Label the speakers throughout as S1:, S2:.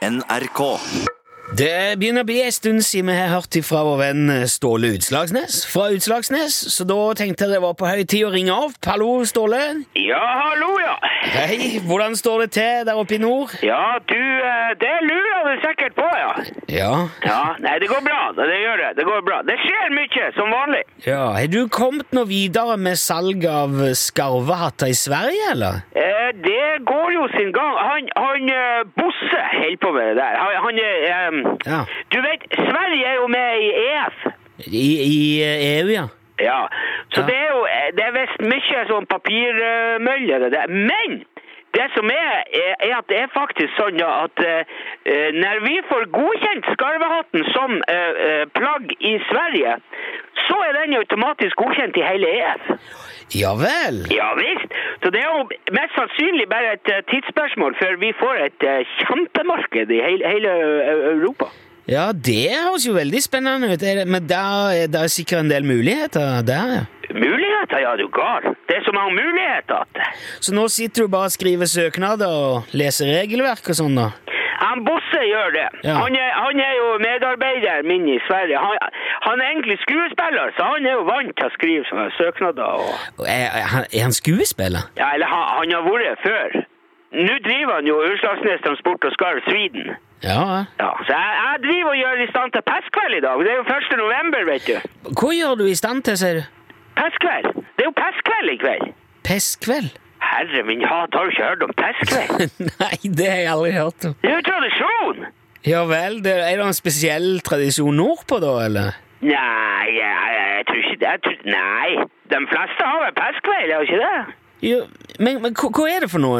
S1: NRK.
S2: Det begynner å bli en stund siden vi har hørt fra vår venn eh, Ståle Utslagsnes. Fra Utslagsnes, Så da tenkte jeg det var på høy tid å ringe opp. Hallo, Ståle.
S3: Ja, hallo, ja.
S2: Hei, hvordan står det til der oppe i nord?
S3: Ja, du, eh, det lurer du sikkert på, ja.
S2: Ja.
S3: Ja, Nei, det går bra. Det, det gjør det. Det går bra. Det skjer mye, som vanlig.
S2: ja. Har du kommet noe videre med salg av skarvehatter i Sverige, eller?
S3: Eh, det går jo sin gang. Han, han eh, Bosse holder på med det der. Han, han er em,
S2: Ja.
S3: Du vet, Sverige er jo med i E EF.
S2: I, i EU, ja.
S3: Ja. Så
S2: Ja.
S3: det er jo eh, Det er visst mye sånn papirmølle, det der. Men! Det som er, er, er at det er faktisk sånn ja, at eh, eh, når vi får godkjent skarvehatten som eh, eh, plagg i Sverige, så er den jo automatisk godkjent i hele EF.
S2: Ja vel.
S3: Ja visst. Så det er jo mest sannsynlig bare et eh, tidsspørsmål før vi får et eh, kjempemarked i hele, hele eh, Europa.
S2: Ja, det høres jo veldig spennende ut. Er det- Men der er det er sikkert en del muligheter der, ja.
S3: Muligheter, ja, du gal. Det er så mange muligheter at
S2: Så nå sitter du bare og skriver søknader og leser regelverk og sånn, da?
S3: Han Bosse gjør det.
S2: Ja.
S3: Han, er, han er jo medarbeideren min i Sverige. Han, han er egentlig skuespiller, så han er jo vant til å skrive sånne søknader. Og,
S2: Og Er, er, han- er han skuespiller?
S3: ja, eller han, han har vært det før. Nå driver han jo Urslagsnes Transport og Skarv Sweden.
S2: Ja. ja.
S3: Ja, så jeg, jeg driver og gjør i stand til pestkveld i dag. Det er jo 1. november, vet du.
S2: Hva gjør du i stand til, sier du?
S3: Pestkveld? Det er jo pestkveld i kveld!
S2: Pestkveld?
S3: Herre min hat, har du ikke hørt om pestkveld?
S2: Nei, det har jeg aldri hørt om.
S3: Det er jo tradisjon!
S2: Ja vel, det, er det en spesiell tradisjon nordpå, da, eller?
S3: Nei, jeg, jeg tror ikke det. Jeg tror, nei, de fleste har vel pestkveld, har ikke det?
S2: Jo, men, men hva, hva er det for noe?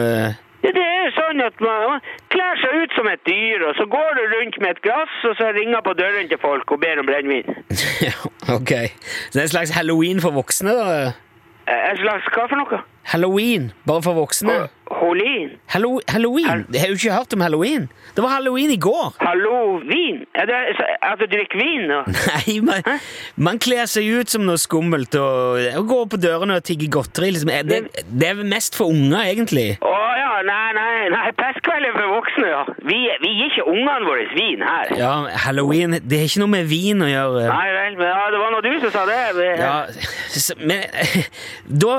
S3: Ja, det er jo sånn at man, man klær seg ut som et dyr, og så går du rundt med et glass, og så ringer på døren til folk og ber om brennevin.
S2: Ja, ok. Så det er en slags halloween for voksne, da?
S3: Eh, En slags hva for noe?
S2: Halloween, bare for voksne?
S3: Holin?
S2: Hallo, halloween?
S3: Hall-
S2: Jeg har jo ikke hørt om halloween. Det var halloween i går.
S3: Hallo, vin? Er det så- at du drikker vin? Og...
S2: Nei, man, man kler seg ut som noe skummelt og, og går på dørene og tigger godteri. Liksom. Er Det, det er mest for unger, egentlig.
S3: Å ja, nei, nei, nei, pestkveld er for voksne, ja. Vi, vi gir ikke ungene våre vin her.
S2: Ja, Halloween Det har ikke noe med vin å gjøre.
S3: Nei vel, men ja, det var nå du som sa det. men-
S2: Ja, s- men da,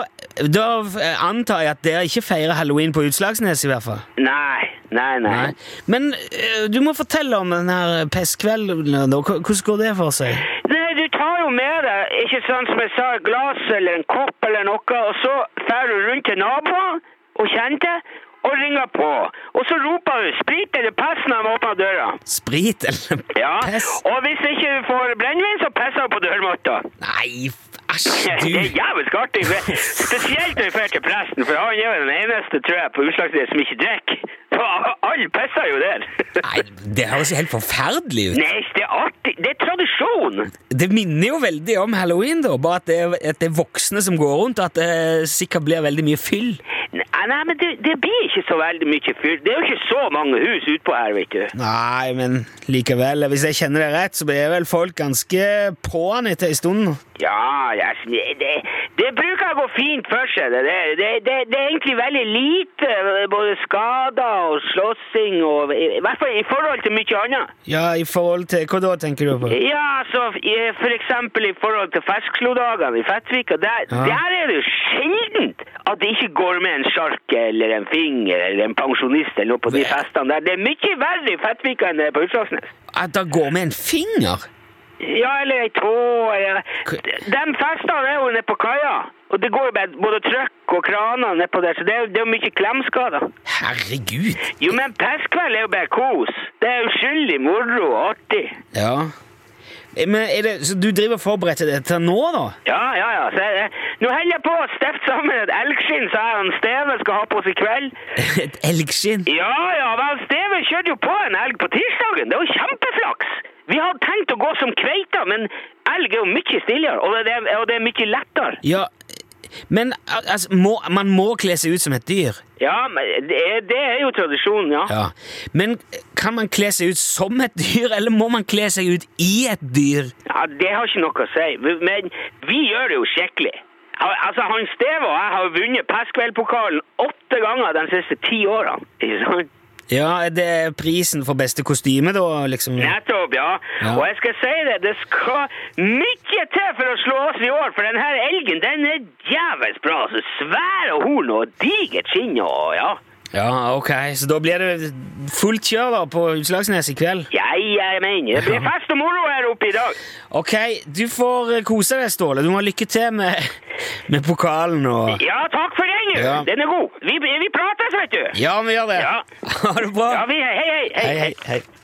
S2: da eh, antar jeg at dere ikke feirer halloween på Utslagsnes, i hvert fall.
S3: Nei, nei, nei.
S2: Nei. Men eh, du må fortelle om den her pestkvelden. eh, da. Hva- Hvordan går det for seg?
S3: Nei, du tar jo med deg, ikke sånn som jeg sa, et glass eller en kopp eller noe, og så fer du rundt til naboen og kjente, og ringer på. Og så roper du sprit eller pess når de åpner døra.
S2: Sprit eller
S3: Ja,
S2: pess?
S3: og hvis ikke du får brennevin, så pisser du på dørmatta.
S2: Nei, f- æsj,
S3: Det er
S2: du.
S3: jævlig artig, for- spesielt når vi drar til presten, for han er jo den eneste, tror jeg, på utslagsdelen som ikke drikker. Så Alle pisser jo der.
S2: Nei, det høres jo helt forferdelig ut.
S3: Nei, det er artig. Det er tradisjon.
S2: Det minner jo veldig om halloween, da, bare at det, er, at det er voksne som går rundt, og at det sikkert blir veldig mye fyll.
S3: Nei, nei men det, det blir ikke så veldig mye fyr. Det er jo ikke så mange hus utpå her, vet du.
S2: Nei, men likevel, hvis jeg kjenner det rett, så blir vel folk ganske på'n etter en stund.
S3: Ja, jeg, sn- det, det bruker å gå fint for seg. Det, det, det, det, det er egentlig veldig lite både skader og slåssing og I hvert fall i forhold til mye annet.
S2: Ja, i forhold til Hva da, tenker du på?
S3: Ja, så i- for eksempel i forhold til fersklodagene i Fettvika, der,
S2: Ja.
S3: der er det jo sjeldent at det ikke går med en sjark eller en finger eller en pensjonist eller noe på de
S2: Ja.
S3: festene der. Det er mye verre i Fettvika enn det er på Utslagsnes.
S2: At det går med en finger?
S3: Ja, eller ei tå, eller
S2: K-
S3: De festene er jo nede på kaia, og det går jo bare både trøkk og kraner nedpå der, så det er jo det er jo mye klemskader.
S2: Herregud.
S3: Jo, men pestkveld er jo bare kos. Det er uskyldig moro og artig.
S2: Ja. Eh, Men er det, så du driver og forbereder deg til nå, da?
S3: Ja, ja, ja. Så jeg, nå holder jeg på å stifte sammen et elgskinn som jeg og han Steve skal ha på oss i kveld.
S2: Et elgskinn?
S3: Ja, ja, vel, Steve kjørte jo på en elg på tirsdagen. Det var jo kjempeflaks. Vi hadde tenkt å gå som kveita, men elg er jo mye stillere, og det er, og det er mye lettere.
S2: Ja, men al- altså, må, man må kle seg ut som et dyr.
S3: Ja, men det er, det er jo tradisjonen, ja.
S2: Ja. Men kan man kle seg ut som et dyr, eller må man kle seg ut i et dyr?
S3: Ja, Det har ikke noe å si, men vi gjør det jo skikkelig. Ha- Altså, Han Steve og jeg har vunnet Pestkveldpokalen åtte ganger de siste ti årene. ikke sant?
S2: Ja, Er det prisen for beste kostyme, da? liksom?
S3: Nettopp, ja.
S2: Ja.
S3: Og jeg skal si det, det skal mye til for å slå oss i år, for den her elgen, den er djevelsk bra. Altså, svære horn og digert skinn og ja.
S2: Ja, ok. Så da blir det fullt kjør da på Utslagsnes i kveld?
S3: Jeg, jeg mener, det blir fest og moro her oppe i dag.
S2: Ok, du får eh, kose deg, Ståle. Du må ha lykke til med, med pokalen og
S3: Ja, takk for den, jo.
S2: Ja.
S3: Den er god. Vi, vi prates, vet du.
S2: Ja, vi gjør det.
S3: Ja.
S2: Ha det bra.
S3: Ja, vi, hei, hei, hei.
S2: hei, hei. hei.